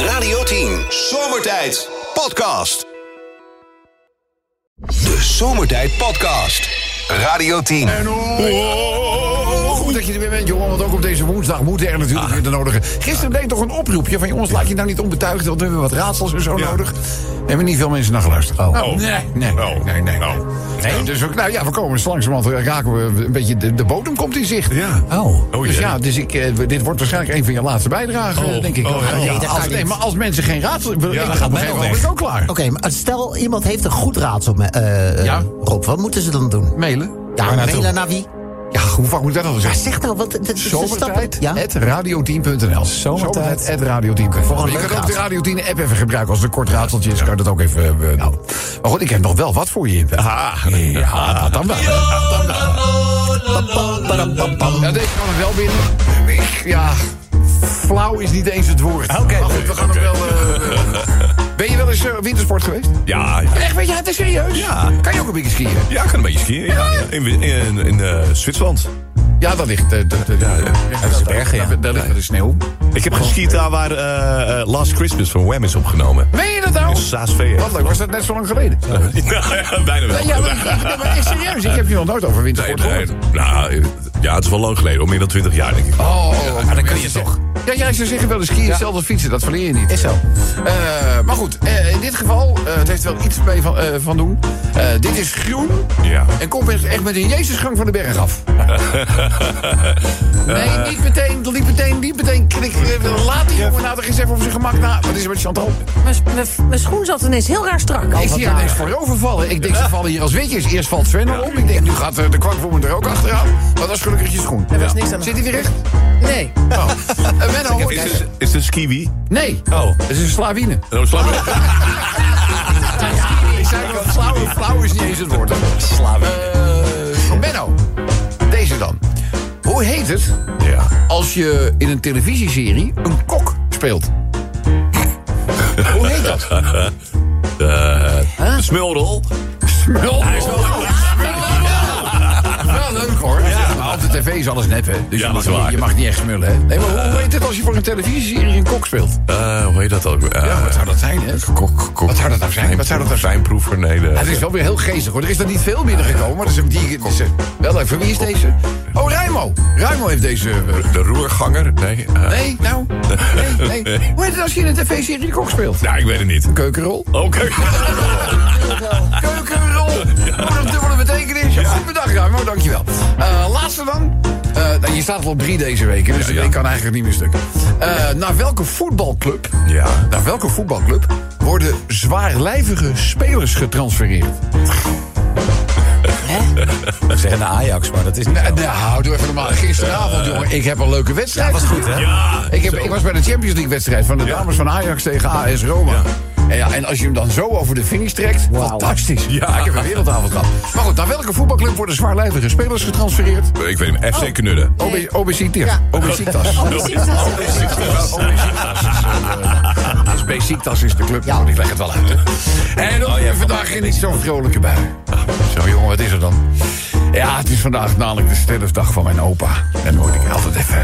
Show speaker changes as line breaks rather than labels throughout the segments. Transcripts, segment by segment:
10. Zomertijd Podcast. De Zomertijd Podcast. Radio 10.
Goed dat je er weer bent, jongen. Want ook op deze woensdag moeten er natuurlijk
Ah.
weer de nodige. Gisteren deed ik toch een oproepje van jongens, laat je nou niet onbetuigd. Want we hebben wat raadsels en zo
Ja.
nodig. We hebben niet veel mensen naar geluisterd. Nou,
Oh.
Nee, nee,
Oh.
nee, nee.
Oh.
nee. Dus ook, nou ja, we komen dus langzamerhand raken we een beetje. De, de bodem komt in zicht.
Ja.
Oh.
Oh,
dus
jee.
ja, dus ik, eh, dit wordt waarschijnlijk een van je laatste bijdragen,
Oh.
denk ik.
Oh, ja. Nee, dat
als, nee, maar als mensen geen raadsel. Ik ja,
gaat
gaat
mij
mij
wel
ook klaar.
Oké, maar stel iemand heeft een goed raadsel, me- eh eh,
Ja.
Rob. Wat moeten ze dan doen?
Mailen.
Ja,
Waar naartoe?
mailen naar wie?
Ja, hoe vaak moet dat al
Ja,
zeggen?
zeg nou, wat dat is een stap.
Zomertijd
Ja?
at radio10.nl. Zomertijd at radio10.nl.
een
je
leuk
kunt ook de
raadsel.
Radio 10 app even gebruiken. Als er een kort raadseltje is, kan je dat ook even eh, doen. Maar goed, ik heb nog wel wat voor je. Ah, ja, dat dan wel. Dat dan wel. Ja, deze kan er wel binnen. Ik- Ja, flauw is niet eens het woord. Oké. Maar goed, we gaan hem wel... eh, ben je wel eens eh, wintersport geweest?
Ja, ja.
Echt, weet je, het is serieus?
Ja.
Kan je ook een beetje skiën?
Ja, ik kan een beetje skiën. Ja. In, in, in eh, Zwitserland.
Ja, dat ligt... eh, dat- dat-
dat is bergen, ja.
Daar- Daar ligt de sneeuw.
Ik heb
Oh,
geskiet daar waar eh, eh, Last Christmas van Wham is opgenomen.
Meen je dat nou?
In Saasvee.
Wat leuk, was dat net zo lang geleden?
Nou, ja, bijna wel.
Ja, maar, ja, maar echt serieus, ik heb je nog nooit over
Nee,
wintersport
nee,
gehoord.
nou, eh, ja, het is wel lang geleden. Al meer dan 20 jaar, denk ik.
Oh,
maar dan kun je toch.
Ja, jij zou zeggen wel eens skiën, hetzelfde als fietsen, dat verleer je niet. Is zo. maar goed, eh, in dit geval, eh, het heeft wel iets mee van, eh, van doen. Eh, dit is groen
Ja.
en komt echt, echt met een Jezusgang van de berg af. nee, niet meteen, niet meteen, niet meteen klik. eh, Laat die jongen nou toch eens even op zijn gemak na. Wat is er met Chantal?
Mijn, mijn- mijn schoen zat ineens heel raar strak.
Ik zie haar ineens voorover vallen. Ik denk, ze vallen hier als witjes. Eerst valt Sven al om. Ik denk, nu gaat eh, de kwakvoerman er ook achteraan. Maar dat is gelukkig je schoen.
Er was niks aan de
Zit hij weer recht?
Nee.
Oh. Eh, Menno, hoor
Is
jij-
het, is het een skiwi?
Nee.
Oh.
Het is een slavine.
Nou, sla
Oh.
me.
Ik zei wel, flauw, flauw is niet eens het woord. Eh, Menno, deze dan. Hoe heet het
Ja.
als je in een televisieserie een kok speelt? Hoe heet dat?
Een Smulrol.
Smul. Hij is wel Wel leuk hoor. Ja, maar op de tv is alles nep, hè? Dus
Ja,
je,
dat
mag,
is
niet-
waar.
je mag niet echt smullen, hè? Nee, maar hoe heet het als je voor een televisieserie een kok speelt?
Eh, hoe heet dat ook? weer? Eh,
dat zijn, hè?
Kok, kok.
Wat zou dat nou zijn? Wat zou dat nou zijn?
Wijnproever, nee. de-
Het is wel weer heel geestig, hoor. Er is er niet veel binnengekomen, maar dat is ook die... die is, eh, wel leuk. Voor wie is deze? Oh, Rijmo. Rijmo heeft deze... eh,
De roerganger? Nee. eh,
Nee, nou. Nee, nee. Hoe heet het als je in een tv-serie de kok speelt?
Nou, ik weet het niet.
Keukenrol.
Oké.
Keukenrol. Moet een dubbele betekenis. Goed bedacht, Ruimo. Dankjewel. Eh, laatste dan. Eh, nou, je staat al op drie deze week, hè, dus
Ja,
de
ja.
week kan eigenlijk niet meer stuk. Eh, naar welke voetbalclub...
Ja.
Naar welke voetbalclub worden zwaarlijvige spelers getransfereerd?
Zeg naar Ajax, maar dat is niet
Nou, nou, doe even normaal. Gisteravond, jongen, ik heb een leuke wedstrijd. Dat was goed, hè?
Ja.
Ik, heb, ik was bij de Champions League-wedstrijd van de dames van Ajax tegen AS Roma. En, ja, en als je hem dan zo over de finish trekt, fantastisch.
Ja.
Ik heb een wereldavond gehad. Maar goed, naar welke voetbalclub worden zwaarlijvige spelers getransfereerd?
Ik weet hem. FC Knudden.
Obe obesitas. Obesitas. Oh, Obesitas. Obesitas is de club. Ja, ik leg het wel uit. hè. En dan weer vandaag in niet zo'n vrolijke bui. Zo jongen, wat is er dan? Ja, het is vandaag namelijk de sterfdag van mijn opa. En dan moet ik altijd even...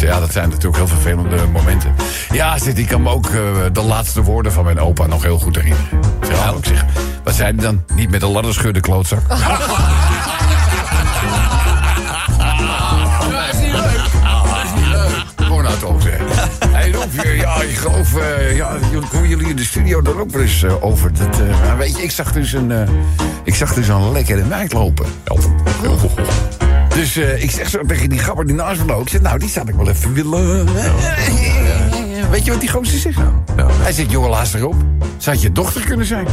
Ja, dat zijn natuurlijk heel vervelende momenten. Ja, zit, ik kan me ook eh, de laatste woorden van mijn opa nog heel goed herinneren. Ja, ook zeggen. Wat zei hij dan? Niet met de ladder schudden, klootzak. Ja, is niet leuk. is niet leuk. Gewoon nou toch, zeg. Hey, Rob, je- ja, ik geloof, eh, ja, j- hoe jullie in de studio daar ook wel eens eh, over. Dat, eh, maar weet je, ik zag dus een, eh, ik zag dus een lekkere meid lopen. Dus eh, ik zeg zo tegen die gabber die naast me loopt. Ik zeg, nou, die zou ik wel even willen. Weet je wat die gozer zegt?
Nou,
Hij zegt, joh, laat erop. Zou het je dochter kunnen zijn?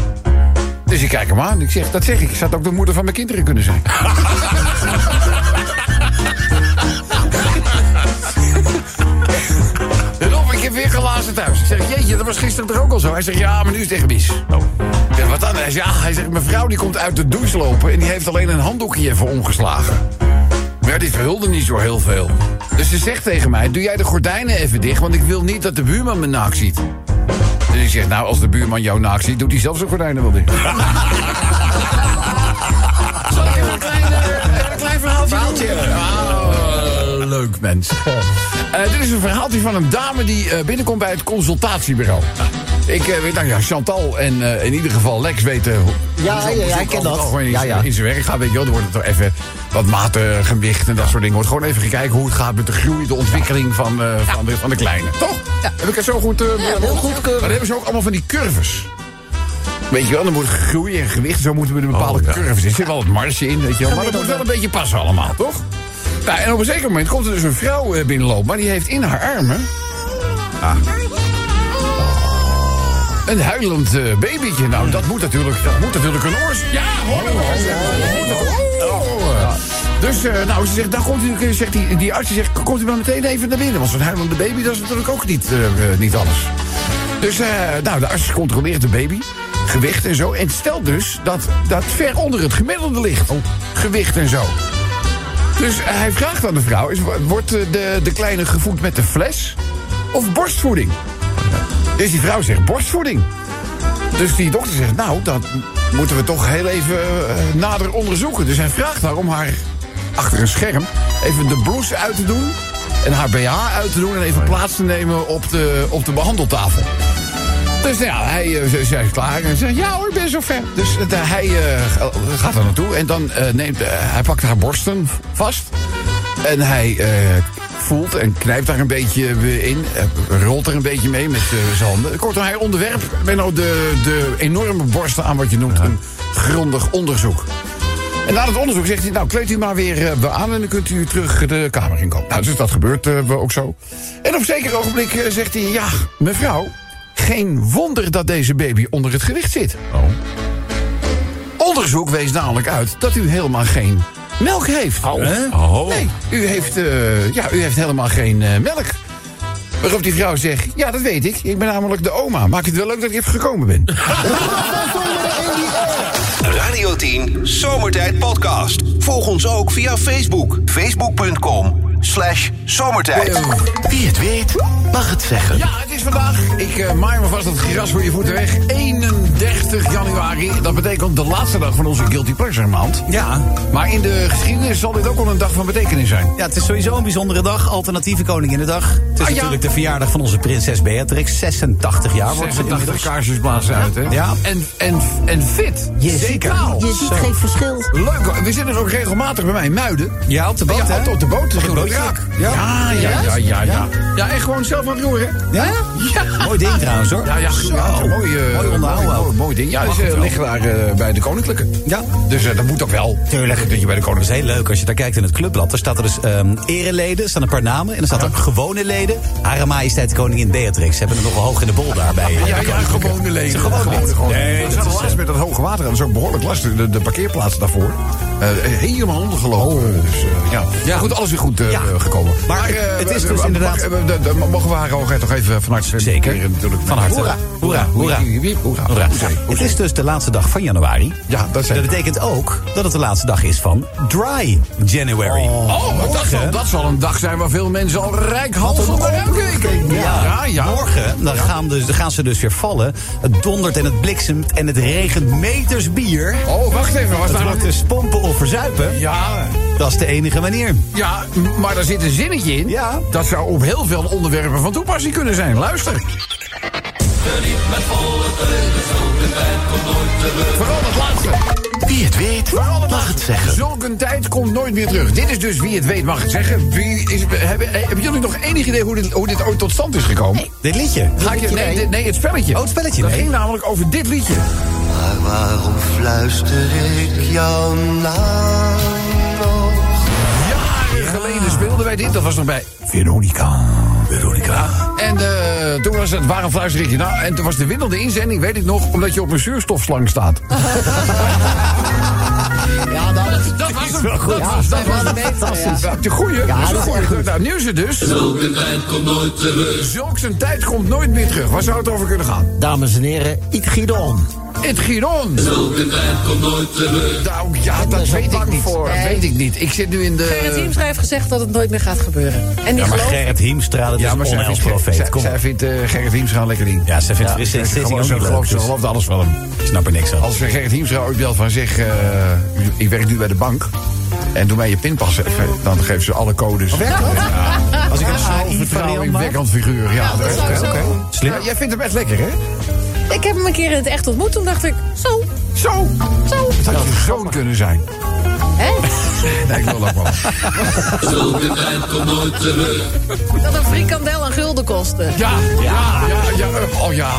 Dus ik kijk hem aan. Ik zeg, dat zeg ik. Zou het ook de moeder van mijn kinderen kunnen zijn? Rob, ik heb weer glazen thuis. Ik zeg, jeetje, dat was gisteren toch ook al zo? Hij zegt, ja, maar nu is het echt mis. Ik zeg, wat dan? Hij zegt, ja, hij zegt, mevrouw die komt uit de douche lopen... en die heeft alleen een handdoekje even omgeslagen. Maar ja, die verhulde niet zo heel veel. Dus ze zegt tegen mij, doe jij de gordijnen even dicht... want ik wil niet dat de buurman me naakt ziet. Dus ik zeg, nou, als de buurman jou naakt ziet... doet hij zelf zijn gordijnen wel dicht. Zal ik even een klein, eh, een klein verhaaltje doen? Oh, hartstikke leuk, mensen. Eh, dit is een verhaaltje van een dame die eh, binnenkomt bij het consultatiebureau. Ik eh, weet nou ja, Chantal en eh, in ieder geval Lex weten hoe.
Ja,
hoe zo'n
ja, ja,
bezoek
ik ken
over het
dat.
algemeen in
Ja,
zijn-
ja.
In zijn werk gaat, weet je wel. Dan wordt het toch even wat maten, gewicht en dat soort dingen. Wordt gewoon even gekeken hoe het gaat met de groei, de ontwikkeling van, eh, van, de, van de kleine. Toch? Heb ik het zo goed? eh,
heel goed,
Maar dan hebben ze ook allemaal van die curves. Weet je wel, dan moet groei en gewicht, zo moeten we een bepaalde
Oh, ja.
curve. Er zit wel wat marge in, weet je wel. Maar dat moet wel een beetje passen allemaal, toch? Nou, en op een zeker moment komt er dus een vrouw eh, binnenlopen, maar die heeft in haar armen... Een huilend eh, babytje. Nou, dat moet natuurlijk, dat moet natuurlijk een oors. Ja, hoor hem, hoor. Oh. Dus, eh, nou, ze zegt, daar komt u, zegt die, die arts, die zegt, komt u maar meteen even naar binnen. Want zo'n huilende baby, dat is natuurlijk ook niet, eh, eh, niet alles. Dus, eh, nou, de arts controleert de baby, gewicht en zo. En stelt dus dat dat ver onder het gemiddelde ligt. Gewicht en zo. Dus hij vraagt aan de vrouw, is, wordt eh, de, de kleine gevoed met de fles of borstvoeding? Dus die vrouw zegt borstvoeding. Dus die dokter zegt, nou, dat moeten we toch heel even eh, nader onderzoeken. Dus hij vraagt haar om haar achter een scherm even de blouse uit te doen... en haar BH uit te doen en even plaats te nemen op de, op de behandeltafel. Dus nou ja, hij, eh, ze- zij is klaar en ze zegt, ja hoor, ik ben zo ver. Dus eh, hij eh, gaat er naartoe en dan eh, neemt, eh, hij pakt haar borsten vast... En hij eh, voelt en knijpt daar een beetje in. eh, rolt er een beetje mee met eh, zijn handen. Kortom, hij onderwerpt Benno de, de enorme borsten aan wat je noemt een grondig onderzoek. En na het onderzoek zegt hij, nou kleed u maar weer eh, aan... en dan kunt u terug de kamer in komen. Nou, dus dat gebeurt eh, ook zo. En op zeker ogenblik eh, zegt hij, ja, mevrouw... geen wonder dat deze baby onder het gewicht zit. Onderzoek wees namelijk uit dat u helemaal geen melk heeft.
Hè?
Oh.
Nee, u heeft, eh, ja, u heeft helemaal geen eh, melk. Waarop die vrouw zegt, ja, dat weet ik. Ik ben namelijk de oma. Maak het wel leuk dat ik even gekomen ben.
Radio 10 Zomertijd Podcast. Volg ons ook via Facebook. Facebook.com slash zomertijd.
Wie het weet, mag het zeggen. Ja, het is vandaag. Ik eh maai me vast het gras voor je voeten weg. 31 januari. Dat betekent de laatste dag van onze Guilty Pleasure maand.
Ja.
Maar in de geschiedenis zal dit ook wel een dag van betekenis zijn.
ja, het is sowieso een bijzondere dag. Alternatieve Koninginnedag. Het is
Ah, ja.
natuurlijk de verjaardag van onze prinses Beatrix. 86 jaar wordt ze
86
inmiddels.
kaarsjes blazen uit, hè?
Ja.
En, en, en fit.
zeker.
Vitaal.
Je ziet geen verschil.
Leuk, hoor. we zitten er ook regelmatig bij mij in Muiden.
Ja, op de boot,
ja,
hè?
op de boot. Op de
boot.
Ja, ja, ja, ja, ja, ja. en gewoon zelf aan het roeren.
Ja?
Ja.
Mooi ding trouwens, hoor.
Ja, ja,
Zo.
ja, mooi, eh,
Mooi onderhouden
mooi,
ook.
mooi ding. Ja,
Mag
ze
het wel.
liggen daar eh, bij de Koninklijke.
Ja.
Dus eh, dat moet ook wel. Tuurlijk. Dat je bij de
Dat is
Koninklijke...
heel leuk als je daar kijkt in het clubblad. Er staat er dus ehm, ereleden, er staan een paar namen. En er staat ook gewone leden. Hare Majesteit Koningin Beatrix. Ze hebben het nogal hoog in de bol daarbij. eh,
Ja,
de
ja,
koninklijke.
gewone leven.
Gewoon lid. Nee,
Nee,
dat is, eh,
laatst met dat hoge water. Dat is ook behoorlijk lastig. De, de parkeerplaats daarvoor. Eh, helemaal ondergelopen. dus, eh, ja.
Oh. Ja.
Goed, alles weer goed eh,
Ja.
gekomen.
Maar het is
eh,
dus
mag-
inderdaad-
eh, de- de- mogen we haar hoogheid toch even van harte
Zeker.
bekeren natuurlijk.
Van harte.
Hoera.
Hoera, hoera.
Wiep, wiep, hoera.
Hoera.
Hoezé,
Het
hoezé.
is dus de laatste dag van januari.
Ja, dat zijn
Dat betekent ook dat het de laatste dag is van Dry January.
Oh, maar dat, zal, dat zal een dag zijn waar veel mensen al rijk hals op kijken. Ja, ja.
Morgen dan gaan, dus, dan gaan ze dus weer vallen. Het dondert en het bliksemt en het regent meters bier.
Oh, wacht even. Was
Het
daar
wordt
een...
dus pompen of verzuipen.
Ja,
Dat is de enige manier.
ja, m- maar daar zit een zinnetje in.
Ja.
Dat zou op heel veel onderwerpen van toepassing kunnen zijn. Luister. Vooral het laatste.
Wie het weet,
Vooral
mag
het laatste.
het zeggen.
Zulk een tijd komt nooit meer terug. Dit is dus wie het weet mag het zeggen. Wie is, hebben, eh, hebben jullie nog enig idee hoe dit, hoe dit ooit tot stand is gekomen?
Dit liedje.
Ga ik je, nee, dit- nee, het spelletje.
Oh, het spelletje,
Dat
nee.
ging namelijk over dit liedje.
Maar waarom fluister ik nou? jouw naam nog?
Jaren geleden speelden wij dit. Dat was nog bij Veronica. Veronica. En eh, toen was het waarom fluister ik je nou? En toen was de winnende inzending, weet ik nog, omdat je op een zuurstofslang staat.
Ja, dat,
Dat was hem.
wel goed.
Dat was, dat
Ja,
was
dat is fantastisch.
Ja, De goeie.
Ja,
dat is
dat
de
is
goeie.
echt goed.
Nou, nieuws is dus. Zulke tijd komt nooit meer terug. Waar zou het over kunnen gaan?
dames en heren, It Gidon.
Het Giron. Zulke tijd komt nooit terug. Nou ja, dat
zo
weet ik
bang
niet.
voor.
Dat weet ik niet. Ik zit nu in
Gerrit
de...
Hiemstra heeft gezegd dat het nooit meer gaat gebeuren. En die
Ja, maar
gelooft...
Gerrit Hiemstra, dat is een
zij vindt,
onheilsprofeet.
zij-
Kom.
zij vindt eh, Gerrit Hiemstra een lekker ding.
Ja, ze vindt
Ja,
Frits
ze-
en
ze-
Sissing ook
ze
niet leuk.
gelooft- Ze
dus
gelooft alles van hem.
Ik snap er niks aan.
Als eh, Gerrit Hiemstra ooit belt van zeg, eh, ik werk nu bij de bank. En doe mij je pinpas even. Dan geven ze alle codes. Ah,
Werkt dat? Als ik een AI variant maak?
Vertrouwenwekkend figuur. Ja, dat
dat
is
zou
oké.
zo.
Slim.
Ja, jij vindt hem echt lekker, hè?
Ik heb hem een keer in het echt ontmoet. Toen dacht ik, zo,
Zo!
zo.
Het had je zoon kunnen zijn.
Hè?
Nee, ik wil dat wel.
Dat een frikandel een gulden kostte.
Ja, ja, ja, ja. eh, Oh ja,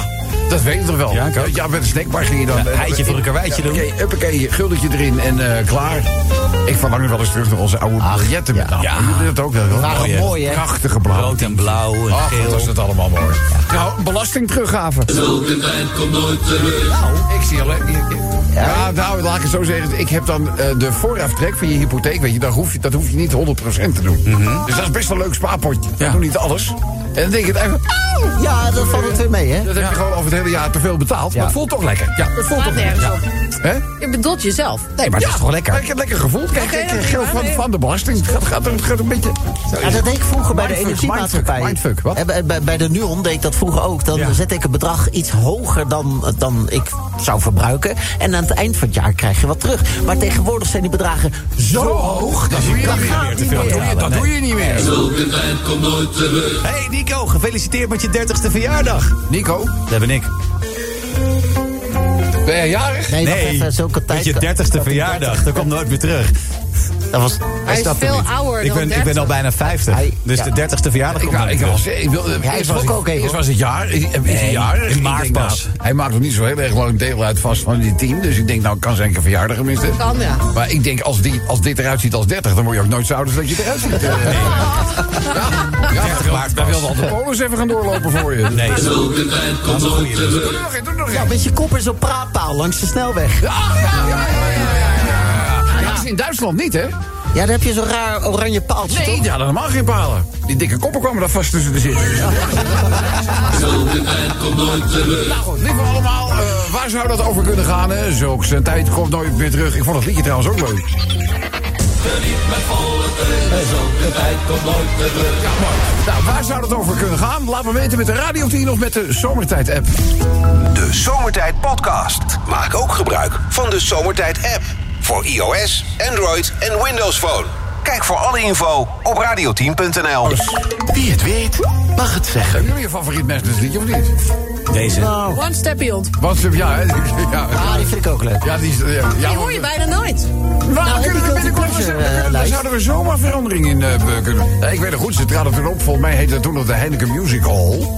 dat weet ik toch wel.
Ja, ik ook.
ja, met een snackbar ging je dan... eh,
eitje voor een karweitje doen.
Huppakee, huppakee, guldetje erin en eh, klaar. Ik verlang nu wel eens terug naar onze oude biljetten met name.
Ja.
Jullie dat ook wel.
waren
Mooie,
mooi, hè?
Prachtige blauw.
Rood en blauw en
Ach, wat
geel.
was dat allemaal mooi. Nou, belastingteruggave. Nou, ik zie alleen... ik- ik- Ja, nou, laat ik het zo zeggen. Ik heb dan eh, de vooraftrek van je hypotheek. Weet je, dat hoef je, dat hoef je niet 100% te doen. Dus dat is best wel een leuk spaarpotje.
Mhm. Ja.
Ik doe niet alles. En dan denk je het even...
Ja, dat
Eh.
valt het weer mee, hè?
Dat heb je gewoon over het hele jaar te veel betaald. Maar het voelt toch lekker. Ja, het voelt
Gaat
toch
nergens
lekker.
op.
Hè?
Je bedoelt jezelf.
Nee, maar het
Ja,
is gewoon
maar
lekker.
Ik heb lekker gevoeld. Kijk,
Oké,
kijk,
dat is
geld
prima,
van,
nee.
van de belasting. Het gaat, gaat, het gaat een beetje...
Ja, dat deed ik vroeger bij de
Mindfuck,
energiemaatschappij.
mindfuck, mindfuck, wat?
En bij- bij, bij de NUON deed ik dat vroeger ook. Dan
Ja.
zet ik een bedrag iets hoger dan, dan ik zou verbruiken. En aan het eind van het jaar krijg je wat terug. Maar tegenwoordig zijn die bedragen zo hoog.
Dat doe je
dat
niet
gaat
meer. Dat
niet meer.
doe je- Dat doe je niet meer.
Hey Nico, gefeliciteerd met je 30ste verjaardag.
Nico,
Dat ben ik.
ben jij jarig?
Nee, wacht
Nee,
even, zulke
met
tijd.
je 30ste verjaardag. Dat komt nooit meer terug.
Dat was,
Hij is
Snap je
veel
niet?
Nou,
ouder
ik
dan
ben,
30.
Ik ben al bijna 50.
Hij-
dus
ja.
de 30ste verjaardag
Ik,
komt
wou-
nooit
ik,
meer
was,
terug.
ik wilde,
Ja, hij
eerst was
schrok
ik-
ook even,
Eerst
hoor.
was het jaar. ik- eh, Is hij
Nee,
jarig?
in
Ik
maart
denk, nou,
pas.
Hij maakt nog niet zo heel erg lang deel uit vast van die team. Dus ik denk, nou, kan zijn verjaardag tenminste.
Kan, ja.
Maar ik denk, als, die, als dit eruit ziet als 30, dan word je ook nooit zo oud als dat je eruit ziet. eh. Ja, ja,
30 maart
Daar
pas.
wilde al de polis even gaan doorlopen voor je.
Nee, dat is een goeie.
Doe er nog één, doe er nog één.
met je kop in zo'n praatpaal langs de snelweg.
Ja, Ah, ja, ja, ja, ja, ja, ja. Ja, Dat is in Duitsland niet, hè?
Ja, dan heb je zo'n raar oranje paaltje,
Nee,
toch?
die hadden helemaal geen palen. Die dikke koppen kwamen daar vast tussen te zitten. Nou goed, lieve allemaal, eh, waar zou dat over kunnen gaan? hè? Zulk zijn tijd komt nooit meer terug. Ik vond het liedje trouwens ook leuk. Ja, mooi. Nou, waar zou dat over kunnen gaan? Laat me weten met de Radio 10 of met de Zomertijd-app.
De Zomertijd Podcast. Maak ook gebruik van de Zomertijd app. Voor iOS, Android en Windows Phone. Kijk voor alle info op radio10.nl.
Wie het weet, mag het zeggen.
Hebben jullie je favoriet liedje of niet?
Deze.
One step beyond.
Wat heb ja, hè?
Ah,
ja,
die vind ik ook leuk.
ja, die is... Ja, ja,
Die hoor je bijna nooit.
Nou,
Nou,
kunnen
heb
we
ik ook
binnenkort
een
eens-
kwartje, eh,
daar
lijst.
zouden we zomaar verandering in eh, be- kunnen. Eh, ik weet het goed, ze traden toen op. Volgens mij heette dat toen nog de Heineken Music Hall.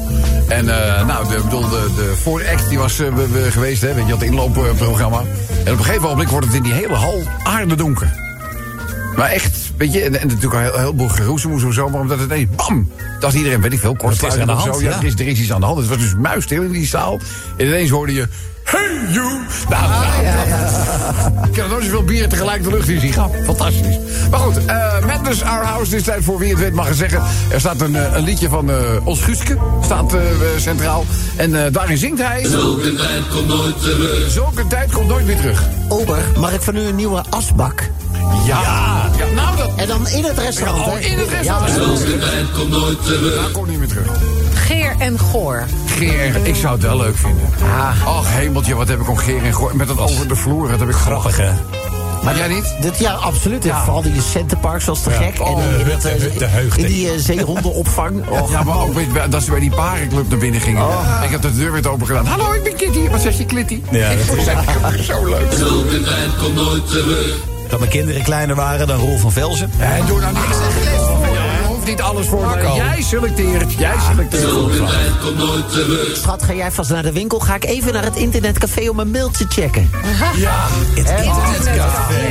En eh, nou, de, bedoel, de, de vooract die was eh, we- we geweest, hè, weet je, dat inloopprogramma. En op een gegeven moment wordt het in die hele hal aardedonker. Maar echt, weet je, en, en natuurlijk een heel- een heleboel geroezemoes of zo, maar omdat het ineens bam! Dat iedereen, weet ik veel, kort
Wat is er aan de
of
hand?
zo. Ja,
Ja.
Er, is, er is iets aan de hand. Het was dus muisstil in die zaal. En ineens hoorde je, hey you! Nou,
Ah,
nou, ik heb nog nooit zoveel bieren tegelijk de lucht in zien gaan. Fantastisch. Maar goed, eh Madness Our House. Dit is tijd voor wie het weet mag het zeggen. Er staat een, eh, een liedje van eh Ons Guuske. Staat eh, eh, centraal. En eh, daarin zingt hij... Zulke tijd komt nooit meer terug.
Ober, mag ik van u een nieuwe asbak?
Ja. ja nou, dat...
En dan in het restaurant,
Ja, oh,
hè?
in het
Ja,
restaurant. Dat komt niet meer terug.
Geer en goor.
Geer, ik zou het wel leuk vinden. Ach, hemeltje, wat heb ik om Geer en Goor... Met dat over de vloer, dat heb ik grappig.
Grappig, hè?
Maar jij niet?
Dit, ja, absoluut. En Vooral die centerparks was te gek.
Oh,
en in, dat, eh,
de- de heugd,
in
hè.
die eh, zeehondenopvang. Och.
Ja, maar ook weet je, bij- dat ze bij die parenclub naar binnen gingen. Ik heb de deur weer open gedaan. Hallo, ik ben Kitty. Wat zeg je, Klitty?
Ja, dat
is echt zo leuk.
Dat mijn kinderen kleiner waren dan Roel van Velzen.
En doe nou niks. Je hoeft niet alles voor te komen. Jij selecteert. Jij selecteert.
Schat, ga jij vast naar de winkel? Ga ik even naar het internetcafé om een mailtje checken.
Ja,
Hè? Oh,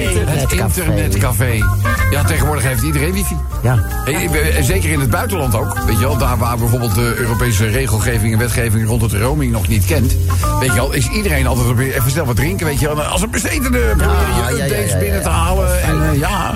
het
Internetcafé.
internetcafé. Ja, tegenwoordig heeft iedereen wifi.
Ja.
Eh, eh, eh, Zeker in het buitenland ook. Weet je wel, daar waar bijvoorbeeld de Europese regelgeving en wetgeving rond het roaming nog niet kent. Weet je wel, is iedereen altijd op even snel wat drinken. Weet je wel, als een bezetene proberen je
ja, ja,
updates
ja, ja,
binnen te halen. En eh, ja.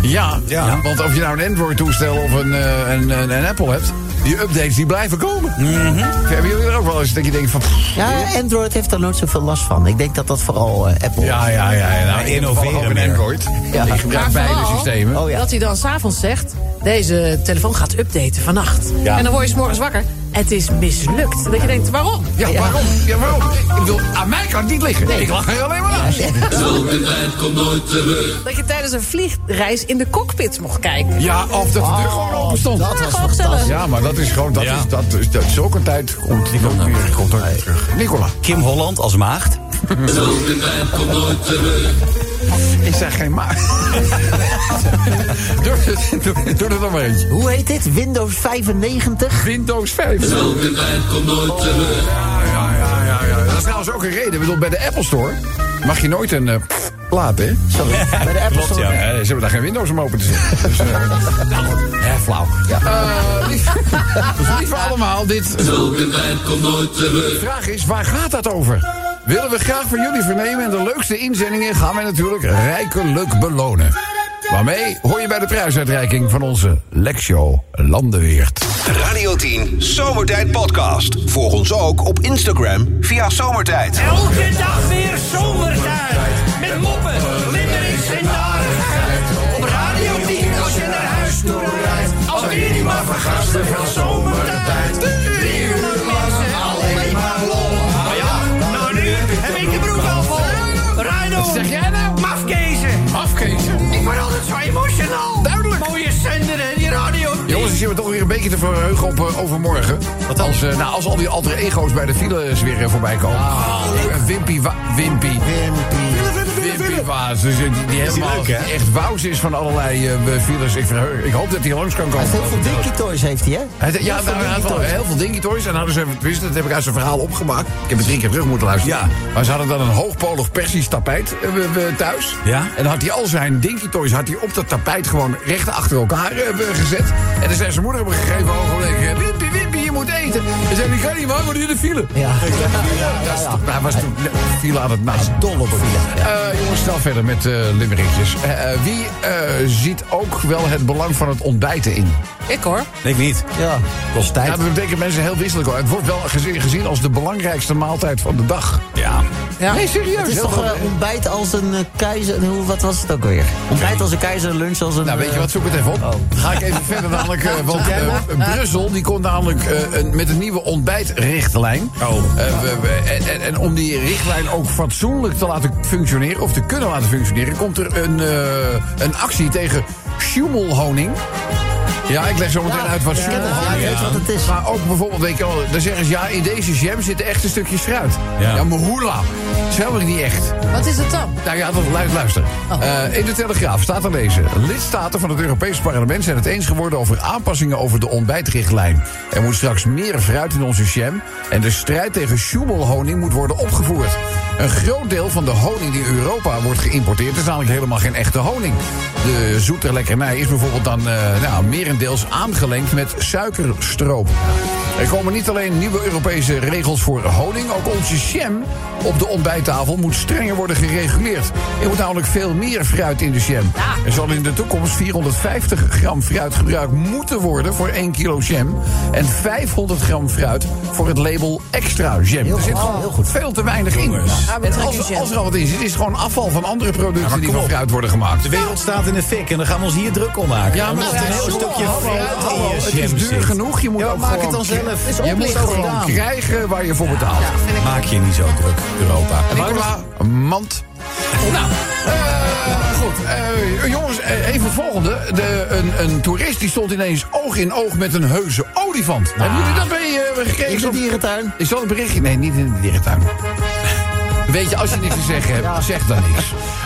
Ja,
Ja.
want of je nou een Android-toestel of een, eh, een, een, een Apple hebt, die updates die blijven komen.
Mhm.
Hebben jullie er ook wel eens dat je denkt van... pff,
Ja, Android heeft daar nooit zoveel last van. Ik denk dat dat vooral eh, Apple
Ja, ja, ja. ja. Nou,
Innoveren
Ik heb toevallig ook
meer.
een Android.
Ja.
Ik gebruik
Maar
beide
vooral-
systemen.
Oh ja.
Dat hij dan s'avonds zegt, deze telefoon gaat updaten vannacht. En dan word je s'morgens wakker. Het is mislukt. Dat je denkt, waarom?
Ja, waarom? Ja, waarom? Ik bedoel, aan mij kan het niet liggen. Ik lach er alleen maar naast.
Dat je tijdens een vliegreis in de cockpit mocht kijken.
Ja, of Oh, dat de deur gewoon open stond.
dat
Ja,
was
gewoon gezellig.
Ja, maar dat is gewoon, dat
Ja.
is, dat is, dat zulke tijd komt die komt weer, komt ook weer terug. Nicola,
Kim Holland als maagd.
ik zeg geen maar. doe, het- doe, doe er nog maar eentje.
Hoe heet dit? Windows 95?
Windows 5. Ja, ja, ja, ja, ja. Dat is trouwens ook een reden. Ik bedoel, bij de Apple Store mag je nooit een eh, plaat, hè?
Sorry, bij de Apple
Klopt,
Store.
Ja,
ja.
Eh, ze hebben daar geen Windows om open te zetten. Dus, eh, hè, flauw. Ja. Eh, lief, dus lieve allemaal, dit... De vraag is, waar gaat dat over? Willen we graag van jullie vernemen en de leukste inzendingen gaan wij natuurlijk rijkelijk belonen. Waarmee hoor je bij de prijsuitreiking van onze Lexio Landenweert.
Radio 10 Zomertijd Podcast. Volg ons ook op Instagram via Zomertijd.
Elke dag weer zomertijd. Met moppen, limmerings en narigheid. Op Radio 10 als je naar huis toe rijdt. Als weer die maar vergasten van zomertijd. Drie uur lang alleen maar lol. Maar ja, nou nu heb ik de broek al vol. Rijn om.
zeg jij nou?
Mafkezen.
Afkezen.
Ik word altijd zo emotional.
Duidelijk.
Mooie zender en die radio.
Jongens, ik zit me toch weer een beetje te verheugen op eh, overmorgen.
Wat dan?
als, eh, nou, als al die alter ego's bij de files weer eh, voorbij komen. Eh, Wimpy, wa- Wimpy. Wimpy. Wimpy Waas. Dus, eh, die, die helemaal
leuk, hè?
die echt wauws is van allerlei eh, files. Ik, verheug, ik hoop dat hij langs kan komen.
Heel veel Dinky Toys heeft hij, hè?
Hij- ja,
Heel veel
nou, hij had
Dinky
wel
Toys.
heel veel Dinky Toys. En hadden ze even, tenminste, dat heb ik uit zijn verhaal opgemaakt. Ik heb het drie keer terug moeten luisteren.
Ja.
Maar ze hadden dan een hoogpolig Persisch tapijt eh, we- we thuis.
Ja.
En dan had hij al zijn Dinky Toys had hij op dat tapijt gewoon recht achter elkaar eh, gezet. En dan zei zijn moeder op een gegeven ogenblik: eh, Wimpy, Wimpy, je moet eten. En zei: Ik kan niet, maar we in de file.
Ja.
Dat is toch- hij was toen file aan het naast.
Dol op het
Eh, jongens, snel verder met eh limmerikjes. Eh, eh, wie eh, ziet ook wel het belang van het ontbijten in?
Ik hoor.
Ik niet.
Ja.
Kost tijd.
Ja, dat betekent mensen heel wisselijk. hoor. Het wordt wel gezien, gezien als de belangrijkste maaltijd van de dag.
Ja.
Ja.
Nee, serieus.
Het is
heel
toch
veel-
eh, ontbijt als een eh, keizer... Hoe, wat was het ook alweer? Ontbijt als een keizer, lunch als een...
nou, weet je
eh,
wat, zoek het even op. Ga ik even verder namelijk, eh, want eh, Brussel die komt namelijk eh, een- met een nieuwe ontbijtrichtlijn.
Oh.
Eh, we- we- en, en- en om die richtlijn ook fatsoenlijk te laten functioneren, of te kunnen laten functioneren, komt er een, eh, een actie tegen schummelhoning. Ja, ik leg zo meteen uit wat schummelhoning
Ja, ik
is.
weet wat het is.
Maar ook bijvoorbeeld, weet je wel, dan zeggen ze ja, in deze jam zit echt een stukje fruit. Ja,
Ja.
maar hoela. Dat is helemaal niet echt.
Wat is het dan?
Nou ja, dat luid- luister. Eh, in de Telegraaf staat te lezen. Lidstaten van het Europese parlement zijn het eens geworden over aanpassingen over de ontbijtrichtlijn. Er moet straks meer fruit in onze jam. En de strijd tegen schummelhoning moet worden opgevoerd. Een groot deel van de honing die in Europa wordt geïmporteerd is namelijk helemaal geen echte honing. De zoete lekkernij is bijvoorbeeld dan eh, nou, merendeels aangelengd met suikerstroop. Er komen niet alleen nieuwe Europese regels voor honing, ook onze jam op de ontbijttafel moet strenger worden gereguleerd. Er moet namelijk veel meer fruit in de jam. Er zal in de toekomst 450 gram fruit gebruikt moeten worden voor 1 kilo jam. En 500 gram fruit voor het label extra jam. er zit gewoon veel te weinig in. En als, als er al wat in zit, is het gewoon afval van andere producten die
kom
van
op.
fruit worden gemaakt.
De wereld staat in de fik en dan gaan we ons hier druk om maken.
Ja, maar
Omdat
het
een
is
heel
zonde,
stukje
hallo,
fruit
hallo,
in je
Het is
jam
duur
zit.
zelf. Je moet
Ja,
ook
maak
gewoon
het dan zelf.
kri-
Is
Je moet
opgelegd
gewoon
gedaan.
krijgen waar je voor betaalt.
Maak je niet zo druk, Europa.
Nicola, mand. Nou, eh, goed. Eh, jongens, eh, even het volgende. De, een, een toerist die stond ineens oog in oog met een heuse olifant. Hebben jullie dat mee eh, gekregen?
In de dierentuin.
Is dat een berichtje? Nee, niet in de dierentuin. Weet je, als je niks te zeggen hebt, zeg dan niks.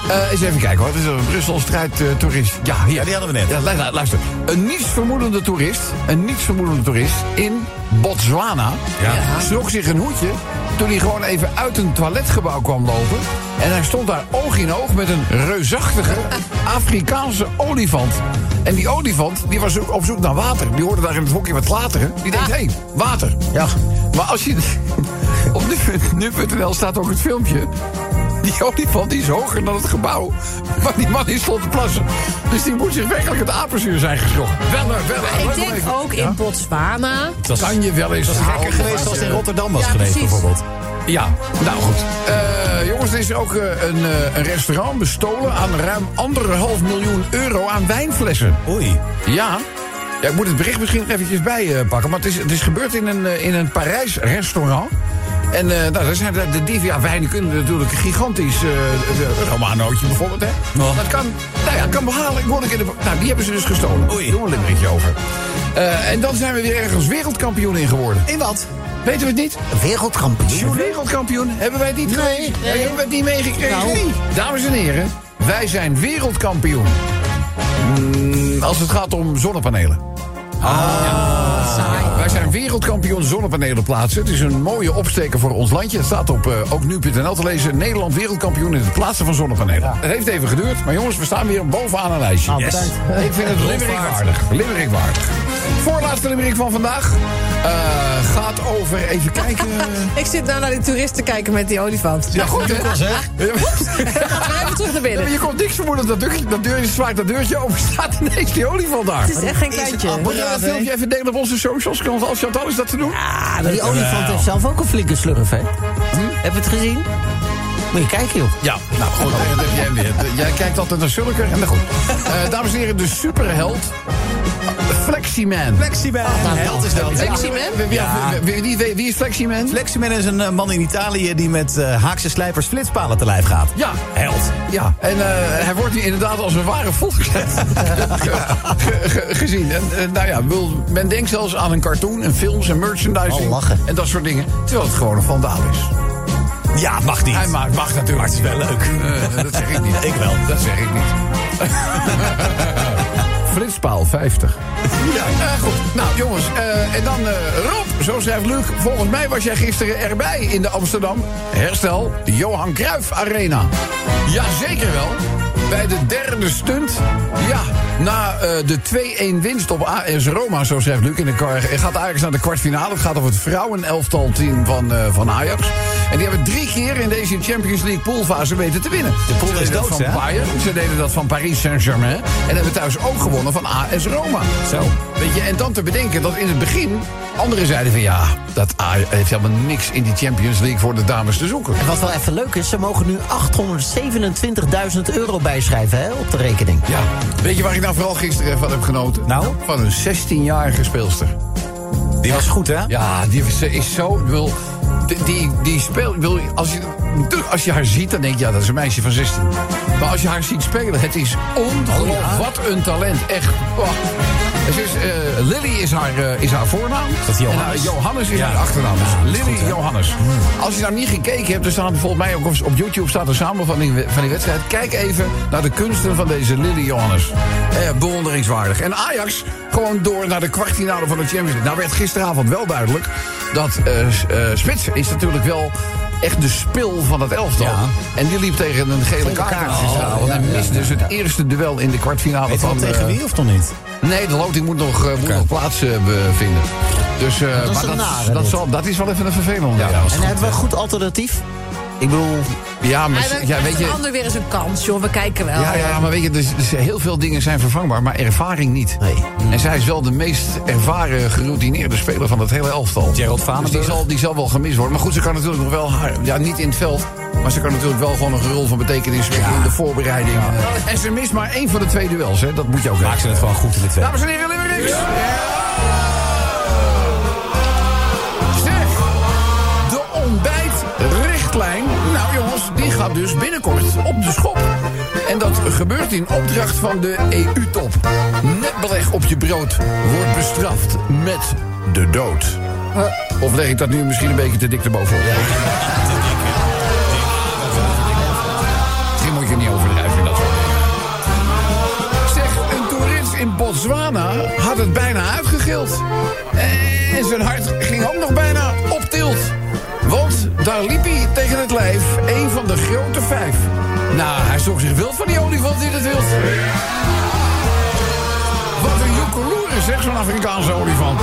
Eh, eens even kijken hoor. Dit is een Brussel strijdtoerist. toerist. ja, hier.
Ja, die hadden we net.
Ja, lu- lu- luister. Een nietsvermoedende toerist, een nietsvermoedende toerist in Botswana
Ja.
sloeg zich een hoedje toen hij gewoon even uit een toiletgebouw kwam lopen. En hij stond daar oog in oog met een reusachtige Afrikaanse olifant. En die olifant die was ook op zoek naar water. Die hoorde daar in het hokje wat klateren. Die denkt, hé, hey, water.
Ja.
Maar als je... Op nu- nu.nl staat ook het filmpje. Die olifant die is hoger dan het gebouw. Maar die man is stond te plassen. Dus die moet zich werkelijk het apenzuur zijn geschrokken. Wel, eh, wel. eh,
Ik
leuk
denk
even.
ook
Ja?
in Botswana.
Dat
Kan je wel eens...
was gekker geweest als het in Rotterdam was
Ja,
geweest,
precies.
bijvoorbeeld.
Ja, nou goed. Eh, jongens, er is ook eh, een, eh, een restaurant bestolen aan ruim anderhalf miljoen euro aan wijnflessen.
Oei.
Ja, Ja, ik moet het bericht misschien eventjes bijpakken. maar het is, het is gebeurd in een, eh, in een Parijs restaurant. En eh, nou, daar zijn de, de divia wijnen kunnen natuurlijk gigantisch. eh, eh, een Romanootje bijvoorbeeld, hè?
Oh.
Dat kan, nou ja, kan behalen. Ik hoorde een keer de- nou, die hebben ze dus gestolen.
Oei.
Doen we een beetje over. Eh, en dan zijn we weer ergens wereldkampioen in geworden.
In wat?
Weten we het niet?
Wereldkampioen.
Wereldkampioen hebben wij het niet
Nee,
geweest.
nee.
Hebben we het niet meegekregen?
Nou.
Nee. Dames en heren, wij zijn wereldkampioen. Mm, als het gaat om zonnepanelen.
Ah.
Ja, Wij zijn wereldkampioen zonnepanelen plaatsen. Het is een mooie opsteker voor ons landje. Het staat op eh, ook nu.nl te lezen. Nederland wereldkampioen in het plaatsen van zonnepanelen. Het heeft even geduurd, maar jongens, we staan weer bovenaan een lijstje.
Ah, bedankt.
Ik vind het limerick waardig. Limerick waardig. Voorlaatste limerick van vandaag eh, gaat over... Even kijken...
Ik zit nou naar die toeristen kijken met die olifant.
Ja, goed hè? Ja,
Gaan we even terug naar
maar
binnen.
je komt niks vermoeden dat deurtje, dat deurtje zwaait dat deurtje open. Staat ineens die olifant daar. Oh,
Het is echt geen kleintje.
Moet je dat filmpje even delen op onze socials? Kan ons als Chantal is dat te doen?
Ah, maar die olifant heeft zelf ook een flinke slurf, hè? Heb je het gezien? Moet je kijken, joh.
Ja, nou goed, dat heb jij hem weer. Jij kijkt altijd naar Sulker en dan goed. Eh, dames en heren, de superheld Fleximan.
Fleximan. held is dat.
Fleximan?
Wie, ja, wie- wie- wie- wie is Fleximan?
Fleximan is een eh, man in Italië die met eh, haakse slijpers flitspalen te lijf gaat.
Ja.
Held.
Ja, en eh, hij wordt hier inderdaad als een ware volksheld ge- ge- gezien. En, eh, nou ja, wil- men denkt zelfs aan een cartoon en films en merchandising.
Oh, lachen.
En dat soort dingen. Terwijl het gewoon een vandaal is.
Ja, mag niet.
Hij maakt, mag natuurlijk.
Maar het is wel leuk.
Eh, dat zeg ik niet.
Ik wel.
Dat zeg ik niet. Flitspaal 50. Ja, eh, goed. Nou, jongens. eh, en dan eh, Rob, zo schrijft Luc. Volgens mij was jij gisteren erbij in de Amsterdam. Herstel, de Johan Cruijff Arena. Jazeker wel. Bij de derde stunt. Ja, na eh, de 2-1 winst op AS Roma, zo schrijft Luc. In de kar, het gaat eigenlijk naar de kwartfinale. Het gaat over het vrouwenelftalteam van, eh, van Ajax. En die hebben drie keer in deze Champions League poolfase weten te winnen. De
pool is dood,
van
hè?
Bayern, ze deden dat van Paris Saint-Germain. En hebben thuis ook gewonnen van AS Roma. Zo. Weet je, en dan te bedenken dat in het begin anderen zeiden van... ja, dat Ajax heeft helemaal niks in die Champions League voor de dames te zoeken.
En wat wel even leuk is, ze mogen nu 827.000 euro bijschrijven hè, op de rekening.
Ja, weet je waar ik nou vooral gisteren van heb genoten?
Nou?
Van een 16-jarige speelster.
Die was goed, hè?
Ja, die ze is zo... ik Wil, die, die, die speelt... Wil, als, je, natuurlijk, als je haar ziet, dan denk je, ja, dat is een meisje van 16. Maar als je haar ziet spelen, het is ongelooflijk.
Oh,
Wat een talent, echt. Oh. Ze is, eh, Lily is haar, eh, is haar voornaam.
dat Johannes?
En, eh, Johannes is haar achternaam. Dus Lily Johannes.
Hmm.
Als je nou niet gekeken hebt, er staan volgens mij ook op, op YouTube staat een samenvatting we- van die wedstrijd. Kijk even naar de kunsten van deze Lily Johannes. Eh, bewonderingswaardig. En Ajax gewoon door naar de kwartfinale van de Champions League. Nou werd gisteravond wel duidelijk dat eh, s- eh, Spits is natuurlijk wel echt de spil van het elftal. En die liep tegen een gele kaart aan gisteravond.
Oh,
En mist dus het eerste duel in de kwartfinale
Weet je
van...
wel tegen
eh,
wie of nog niet?
Nee, de loting moet nog, eh, moet nog plaats eh, be- vinden. Dus, eh,
is
maar
een
dat,
nare,
dat,
dit.
zal, dat is wel even een vervelende. Ja,
En eh, hebben we een goed alternatief? Ik bedoel,
ja maar,
Hij
s- ja, weet
een
je,
ander weer eens een kans, joh. We kijken wel.
ja, ja, maar weet je, dus, dus heel veel dingen zijn vervangbaar, maar ervaring niet.
Nee.
En zij is wel de meest ervaren, geroutineerde speler van het hele elftal.
Gerald
Dus die
Vanenburg. Maak
weten.
ze het gewoon goed in de tweede.
Dames en heren, Limericks! Zeg, de ontbijtrichtlijn, nou jongens, die gaat dus binnenkort op de schop. En dat gebeurt in opdracht van de EU-top. Netbeleg op je brood wordt bestraft met de dood. Of leg ik dat nu misschien een beetje te dik erbovenop? Misschien moet je niet overdrijven in dat soort dingen. Zeg, een toerist in Botswana had het bijna uitgegild. En zijn hart ging ook nog bijna op tilt. Want daar liep hij tegen het lijf een van de grote vijf. Nou, hij zocht zich wild van die olifant in het wild. Wat een joekeloer is, zeg, zo'n Afrikaanse olifant.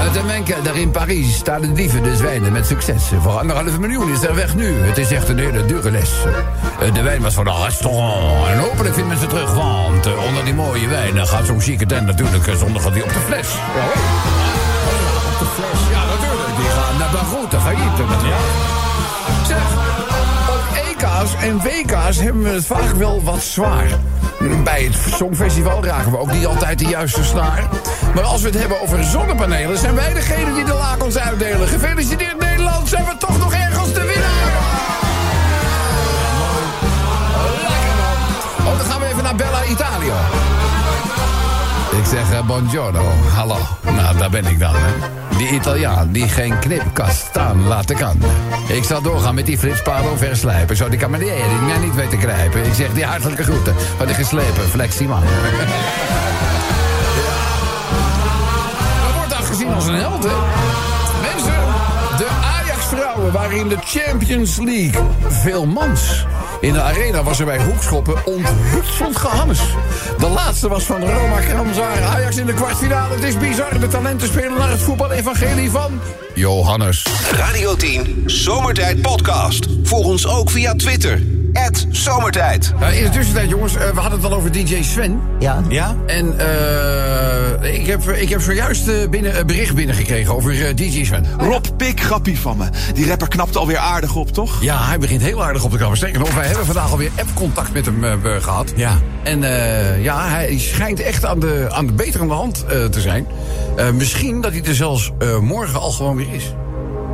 Uit de menke daar in Parijs staan de dieven de zwijnen met succes. Voor anderhalf miljoen is er weg nu. Het is echt een hele dure les. Eh, De wijn was van een restaurant. En hopelijk vindt men ze terug, want eh, onder die mooie wijn eh, gaat zo'n chique tent natuurlijk eh, zondag gaat die op de fles. Ja, hoor. Op de fles. Ja, natuurlijk. Die gaan naar Baroot, de failliet. natuurlijk. E Zeg, op EK's en WK's hebben we het vaak wel wat zwaar. Bij het Songfestival raken we ook niet altijd de juiste snaar. Maar als we het hebben over zonnepanelen, zijn wij degene die de lakens uitdelen. Gefeliciteerd Nederland, zijn we toch nog ergens de winnaar! Lekker man. Oh, dan gaan we even naar Bella Italia. Ik zeg eh, buongiorno, hallo. Nou, daar ben ik dan. Hè. Die Italiaan die geen knipkast staan laten kan. Ik zal doorgaan met die Frits Paro verslijpen. Zo, die kan me niet- mij niet weten grijpen. Ik zeg die hartelijke groeten van de geslepen flexieman. Dat Nou, wordt dan gezien als een held, hè? Mensen, de Ajax-vrouwen waren in de Champions League veel mans. In de arena was er bij hoekschoppen onthutseld gehannes. De laatste was van Roma Kramzaar. Ajax in de kwartfinale. Het is bizar. De talenten spelen naar het voetbal-evangelie van... Johannes.
Radio 10 Zomertijd Podcast. Volg ons ook via Twitter. Zomertijd.
Nou, in de tussentijd, jongens, eh, we hadden het al over DJ Sven.
Ja.
Ja?
En eh, ik, heb, ik heb zojuist eh, binnen, een bericht binnengekregen over eh, DJ Sven.
Rob Pik, grappie van me. Die rapper knapt alweer aardig op, toch?
Ja, hij begint heel aardig op de kamer. Sterker nog, wij hebben vandaag alweer app-contact met hem eh, eh, gehad.
Ja.
En eh, ja, hij schijnt echt aan de, aan de beterende hand eh, te zijn. Eh, misschien dat hij er zelfs eh, morgen al gewoon weer is.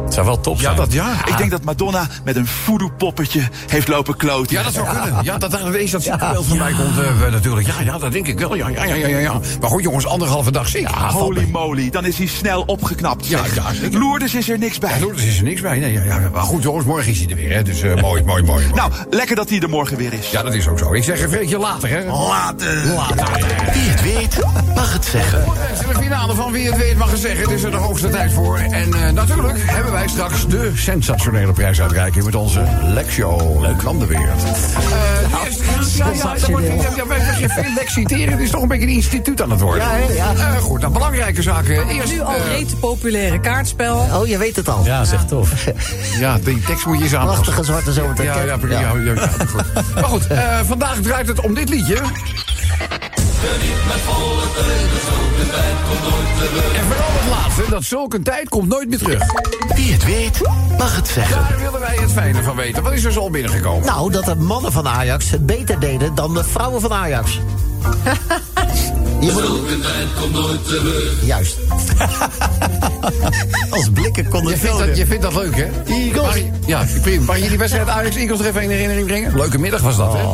Het zou wel top zijn.
ja.
Ik denk dat Madonna met een voodoo-poppetje heeft lopen kloten.
Ja, dat zou kunnen. Ja, dat daar ineens dat ziektebeeld van mij komt eh, natuurlijk. Ja, ja, dat denk ik wel. Ja, ja, ja, ja, ja, ja. Maar goed, jongens, anderhalve dag ziek. Ja,
Holy moly, dan is hij snel opgeknapt.
Ja,
zeg.
ja, zeker.
Lourdes is er niks bij.
er is er niks bij. Nee, ja, ja. Maar goed, jongens, morgen is hij er weer. Hè. Dus eh, mooi, mooi, mooi.
Nou, lekker dat hij er morgen weer is.
Ja, dat is ook zo. Ik zeg een vreetje later, hè.
Later.
Later.
Wie het weet, mag het zeggen.
Morgen is de finale van Wie het weet mag het zeggen. Het is er de hoogste tijd voor. En eh, natuurlijk hebben wij straks de sensationele prijsuitreiking met onze Lexio Leuk. Landenweert. Eh,
Nou,
eerst- ja, ja, dat wordt niet- ja, wij gaan geen Lex citeren. Het is toch een beetje een instituut aan het worden.
Ja, hè, ja.
Eh, goed, dan belangrijke zaken. Eerst,
Nu al
eh,
reet populaire kaartspel.
Oh, je weet het al.
Ja, zeg tof.
ja, die tekst moet je eens aanpassen.
Prachtige zwarte zomertijd.
Ja, ja, ja, ja, ja, goed. Maar goed, eh, vandaag draait het om dit liedje. En vooral het laatste, dat zulke tijd komt nooit meer terug.
Wie het weet, mag het zeggen.
Daar wilden wij het fijne van weten. Wat is er zo al binnengekomen?
Nou, dat de mannen van Ajax het beter deden dan de vrouwen van Ajax. Je moet... Juist.
Als blikken konden
Je vindt, dat, je vindt dat leuk, hè? Eagles. ja, prima. Mag je die wedstrijd Ajax-Eagles er even in herinnering brengen? Leuke middag was dat, hè?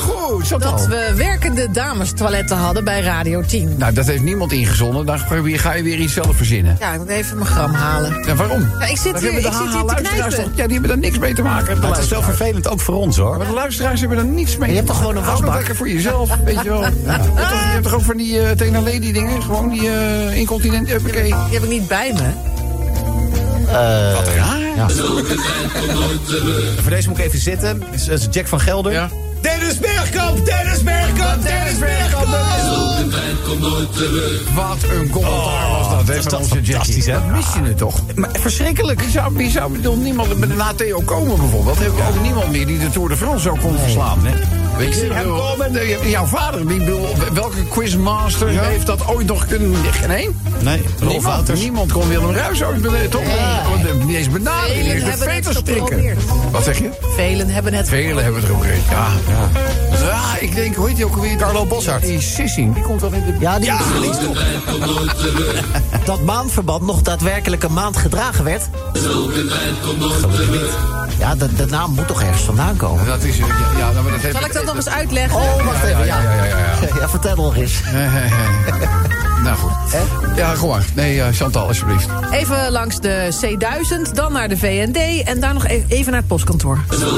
Goed, zo
Dat
dan.
we werkende dames toiletten hadden bij Radio 10.
Oh. Nou, dat heeft niemand ingezonden. Dan probeer- ga je weer iets zelf verzinnen.
Ja, ik moet even mijn gram halen.
En waarom?
Ja, ik zit
Dan
hier-
hebben de
ik zit hier te
luisteraars
knijpen.
toch- Ja, die hebben daar niks mee te maken. De
Maar het is wel
luisteraars.
vervelend, ook voor ons hoor.
Maar de luisteraars hebben daar niets mee.
Je hebt
te
toch
maken.
gewoon een
Hou dat
wasbak?
lekker voor jezelf, weet je wel. Je, hebt toch, je hebt toch ook van die eh Tena Lady dingen? Gewoon die eh, incontinent. Huppakee.
Die heb ik niet bij me.
Wat raar.
Voor deze moet ik even zitten. Dat is- dat is Jack van Gelder.
Ja.
Dennis Bergkamp, Dennis Bergkamp, Dennis Bergkamp.
Wat een commentaar
Oh,
was dat, hè,
was
van
dat
onze Jackie.
fantastisch, hè?
Dat mis
Ah.
je het toch? Maar verschrikkelijk. Wie zou, wie zou bedoel, niemand met een ATO komen, bijvoorbeeld? Heb ik ook niemand meer die de Tour de France zou kon verslaan, hè? Weet je, hem komen. jouw vader, die bedoel, welke quizmaster heeft dat ooit nog kunnen... Geen één?
Nee, Rolf
Niemand,
Wouters.
niemand kon Willem Ruijs ooit beneden, toch? Want, eh, Niet eens benaderen,
Velen
die heeft de
hebben het
veters strikken.
geprobeerd.
Wat zeg je?
Velen hebben het.
Velen hebben het geprobeerd, ja. ja. Ja, ik denk, hoe heet die ook alweer? Carlo Bossart. Die Sissing, die komt wel in de...
Ja, die Dat maandverband nog daadwerkelijk een maand gedragen werd. Ja, de, de naam moet toch ergens vandaan komen.
Dat is... Ja, ja, nou, maar dat heeft-
Zal ik dat nog eens uitleggen?
Oh, wacht even. Ja,
ja, ja, ja,
ja vertel nog eens.
Nou goed. Ja, gewoon. Nee, eh, Chantal, alsjeblieft.
Even langs de C1000, dan naar de VND en daar nog e- even naar het postkantoor.
Oh,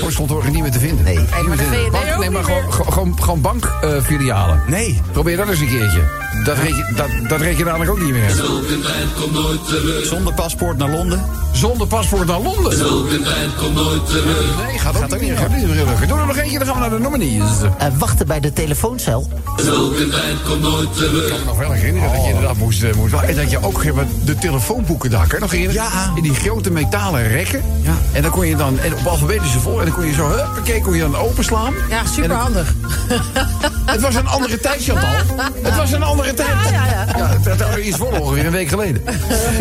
Postkantoren niet meer te vinden. Nee,
Nee, maar de VND
Bank,
ook
nee, maar
niet
gewoon,
meer.
gewoon- gewoon, gewoon bankfilialen.
Nee.
Probeer dat eens een keertje. Dat reed je, dat, dat reed je dadelijk ook niet meer.
Zonder paspoort naar Londen.
Zonder paspoort naar Londen. Nee, gaat ook niet meer. Gaat niet meer lukken. Doe er nog eentje, dan gaan we naar de nominees. Ik
Eh,
En wachten bij de telefooncel.
kan me nog wel herinneren dat je inderdaad moest... eh, moest en dat je ook eh, de telefoonboeken daar, kan je nog herinneren?
Ja.
In die grote metalen rekken.
Ja.
En dan kon je dan... En op alfabetische vol. En dan kon je zo... Huppakee, kon je dan openslaan.
Ja,
En dan-
superhandig.
Het was een andere tijd, Chantal. Het
Ah,
was een andere tijd. Ja, ja, ja. dat hadden we iets voor ongeveer een week geleden.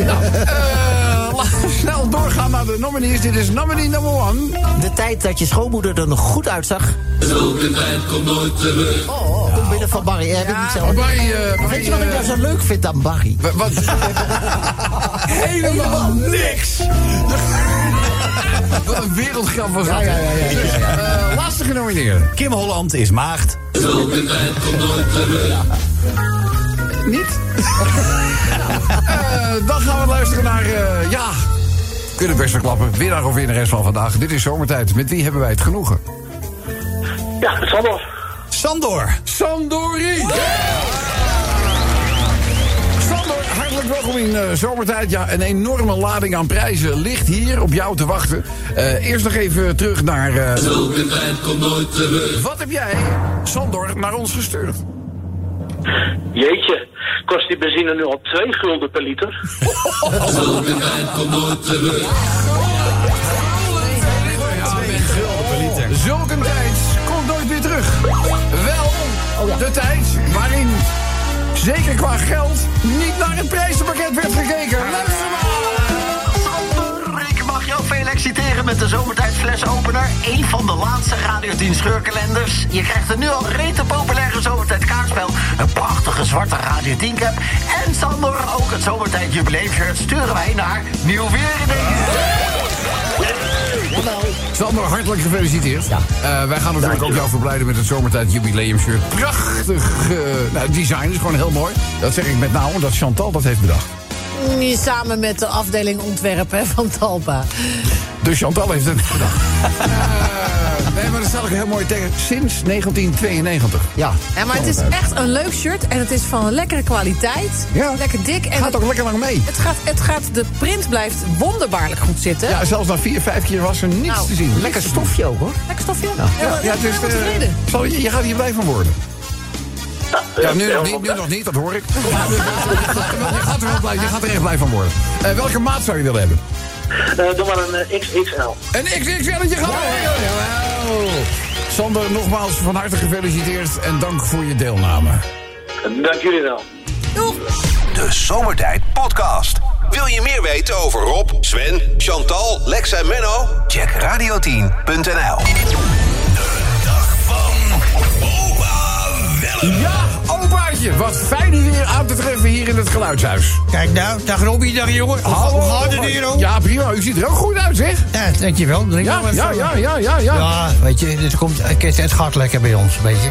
Nou, eh, la- snel doorgaan naar de nominees. Dit is nominee number one.
De tijd dat je schoonmoeder er nog goed uitzag. Zulke tijd komt nooit terug. Oh, oh, omwille van Barry. Heb ik niet zelf.
Oh, Barry, eh, Barry,
Weet je wat ik
eh,
nou zo leuk vind aan Barry?
wa- Wat? Helemaal niks! Wat een wereldgeld was dat. Eh, laatste genomineerde.
Kim Holland is maagd.
Niet? Eh, dan gaan we luisteren naar... eh, ja, kunnen best wel klappen. Winnaar of winnares van vandaag. Dit is Zomertijd. Met wie hebben wij het genoegen?
Ja, Sander.
Sandor.
Sandori! Sander, hartelijk welkom in eh, zomertijd. Ja, een enorme lading aan prijzen ligt hier op jou te wachten. Eh, eerst nog even terug naar... eh, Wat heb jij, Sander, naar ons gestuurd?
Jeetje, kost die benzine nu al 2 gulden per liter?
Zulk een tijd komt nooit meer terug. Wel de tijd waarin, zeker qua geld, niet naar het prijzenpakket werd gekeken. Luister maar!
Sander, ik mag jou veel exciteren met de zomertijdflesopener. Eén van de laatste Radio 10 scheurkalenders. Je krijgt een nu al rete populaire zomertijd kaartspel. Een prachtige zwarte Radio 10 cap. En Sander, ook het zomertijd jubileumshirt sturen wij naar Nieuw Weer in
Sander, hartelijk gefeliciteerd. Eh, wij gaan natuurlijk ook jou verblijden met het zomertijd jubileum shirt. Prachtig eh, nou, design, is gewoon heel mooi. Dat zeg ik met name omdat Chantal dat heeft bedacht.
Mm, Samen met de afdeling ontwerp hè, van Talpa.
Dus Chantal heeft het bedacht. Eh, nee, maar dat staat ook heel mooi tegen. Sinds 1992.
Ja.
Ja, maar het is echt een leuk shirt en het is van een lekkere kwaliteit.
Ja.
Lekker dik. En
Gaat ook lekker lang mee.
Het gaat, het gaat, de print blijft wonderbaarlijk goed zitten.
Ja, zelfs na vier, vijf keer was er niets
Nou,
te zien.
Lekker stofje ook hoor.
Lekker stofje. Ja, ja,
Ja, ja, het is,
ik ben
eh,
wel tevreden.
zal je, je gaat hier blij van worden. Ja, nu,
helemaal
nog niet, nu
blij.
nog niet, dat hoor ik. dus, Je gaat er wel- je gaat er wel blij- je gaat er echt blij van worden. Eh, welke maat zou je willen hebben?
Eh, doe maar een eh, XXL.
Een XXL'tje gaan we Jawel. Sander, nogmaals van harte gefeliciteerd en dank voor je deelname.
Dank jullie wel.
De Zomertijd Podcast. Wil je meer weten over Rob, Sven, Chantal, Lex en Menno? Check radio10.nl.
Ja, opaatje, wat fijn u weer aan te treffen hier in het geluidshuis.
Kijk nou, dag Robbie, dag jongen.
Ja, prima, u ziet er ook goed uit, zeg.
Ja, dankjewel. Drink
Ja, ja, ja, ja, ja, ja.
Ja, weet je, dit komt, kijk, het gaat lekker bij ons, weet je.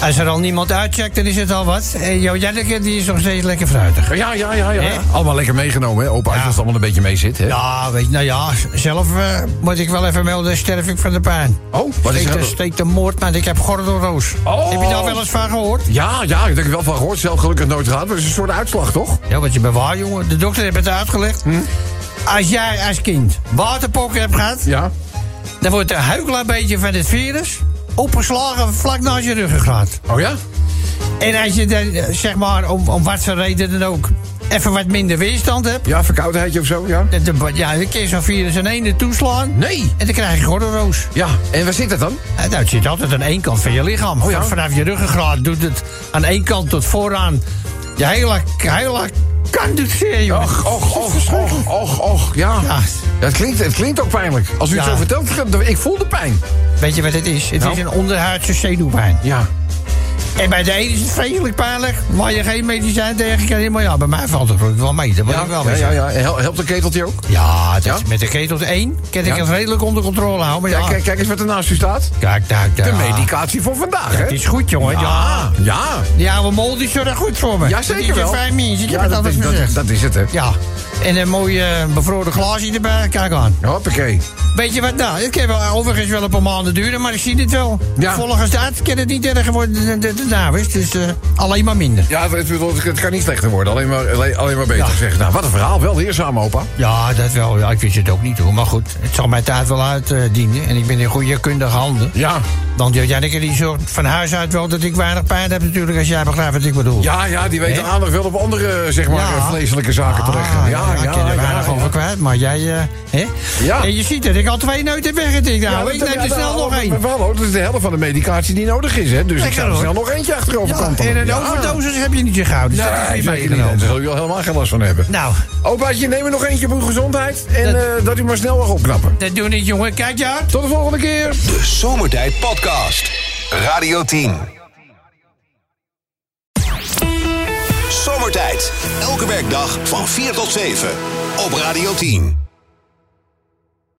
Als er al niemand uitcheckt, dan is het al wat. En jouw Janneke, die is nog steeds lekker fruitig.
Ja, ja, ja, ja.
Hè?
Allemaal lekker meegenomen, hè, opaatje, als het allemaal een beetje mee zit, hè.
Ja, weet je, nou ja, zelf eh, moet ik wel even melden, sterf ik van de pijn.
Oh, wat is
steekt,
er-
de, steekt de moord, maar ik heb gordelroos.
Oh.
Heb je daar wel eens van gehoord?
Ja, ja, ik denk er wel van gehoord. Zelf gelukkig nooit gehad. Maar het is een soort uitslag, toch?
Ja, wat je bewaar, jongen. De dokter heeft het uitgelegd.
Hm?
Als jij als kind waterpokken hebt gehad,
Ja.
dan wordt de huikelaar beetje van het virus opgeslagen vlak naast je ruggengraat.
Oh ja?
En als je dan, eh, zeg maar, om, om wat voor reden dan ook, even wat minder weerstand hebt.
Ja, verkoudheidje of zo, ja.
dat de- Ja, dan kun je zo'n virus aan ene toeslaan.
Nee.
En dan krijg je gordelroos.
Ja, en waar zit dat dan?
En dat nou, zit altijd aan één kant van je lichaam.
Oh ja?
Van- Vanaf je ruggengraat doet het aan één kant tot vooraan. Je hele, hele kant doet zeer, jongen.
Och, och, och, och, och, och, ja.
Ja.
Ja, het, klinkt, het klinkt ook pijnlijk. Als u het
Ja.
zo vertelt, ge- ik voel de pijn.
Weet je wat het is? Het
Nou?
is een onderhuidse zenuwpijn.
Ja.
En bij de ene is het vreselijk pijnlijk, waar je geen medicijn tegen kan. Maar ja, bij mij valt het gelukkig wel mee. Dat moet
Ja,
ik wel
ja, ja,
weer zeggen.
ja. Hel- Helpt een keteltje ook?
Ja, dat
Ja?
is met de ketel 1 kan
Ja.
ik het redelijk onder controle houden. Maar ja,
Kijk, kijk, kijk eens wat er naast u staat.
kijk, kijk,
De
daar.
medicatie voor vandaag, hè?
Het is goed, jongen. Ja.
Ja, ja.
Die oude mol die is er goed voor me.
Ja, zeker
Die is
wel.
een fijn mens, ik
Ja,
heb het
dat
altijd
is, dat,
gezegd.
dat is het, hè?
Ja, en een mooi eh, bevroren glaasje erbij. Kijk aan.
Hoppakee.
Weet je wat, nou, het kan wel, overigens wel een paar maanden duren, maar ik zie dit wel.
Ja.
Volgens de arts kan het niet erger worden dan de daarna is. Dus eh, alleen maar minder.
Ja, het, het- het kan niet slechter worden. Alleen maar, alleen, alleen maar beter.
Ja.
Zeg, nou, wat een verhaal. Wel leerzaam, opa.
Ja, dat wel. Ja, ik wist het ook niet hoor. Maar goed, het zal mijn tijd wel uitdienen. en ik ben in goede kundige handen.
Ja.
Want Janneke die zorgt van huis uit wel dat ik weinig pijn heb natuurlijk... als jij begrijpt wat ik bedoel.
Ja, ja, die weet
Hè?
de aandacht wel op andere, zeg maar,
Ja.
eh, vleeselijke zaken te leggen. Ja,
Ah,
ja,
ik ken er weinig
ja. Ah.
over kwijt, maar jij... eh, hè?
Ja.
En je ziet dat ik al twee neuten weggetikt nou. ik neem er snel nog één.
Wel hoor, dat is de helft van de medicatie die nodig is. Hè? Dus ik
Lekker,
zou er
hoor.
snel nog eentje achterover
Ja,
kantelen.
en een
Ja.
overdosis heb je niet zo gauw. Dus dat is
Nee,
niet
zeker niet. Daar
meegenomen.
zul je wel helemaal geen last van hebben.
Nou,
Opaatje, neem er nog eentje voor uw gezondheid. En
Dat-
eh, dat u maar snel mag opknappen.
dat doe niet, jongen. Kijk je uit.
Tot de volgende keer.
De Zomertijd Podcast. Radio 10. Zomertijd. Elke werkdag van 4 tot 7. Op Radio 10.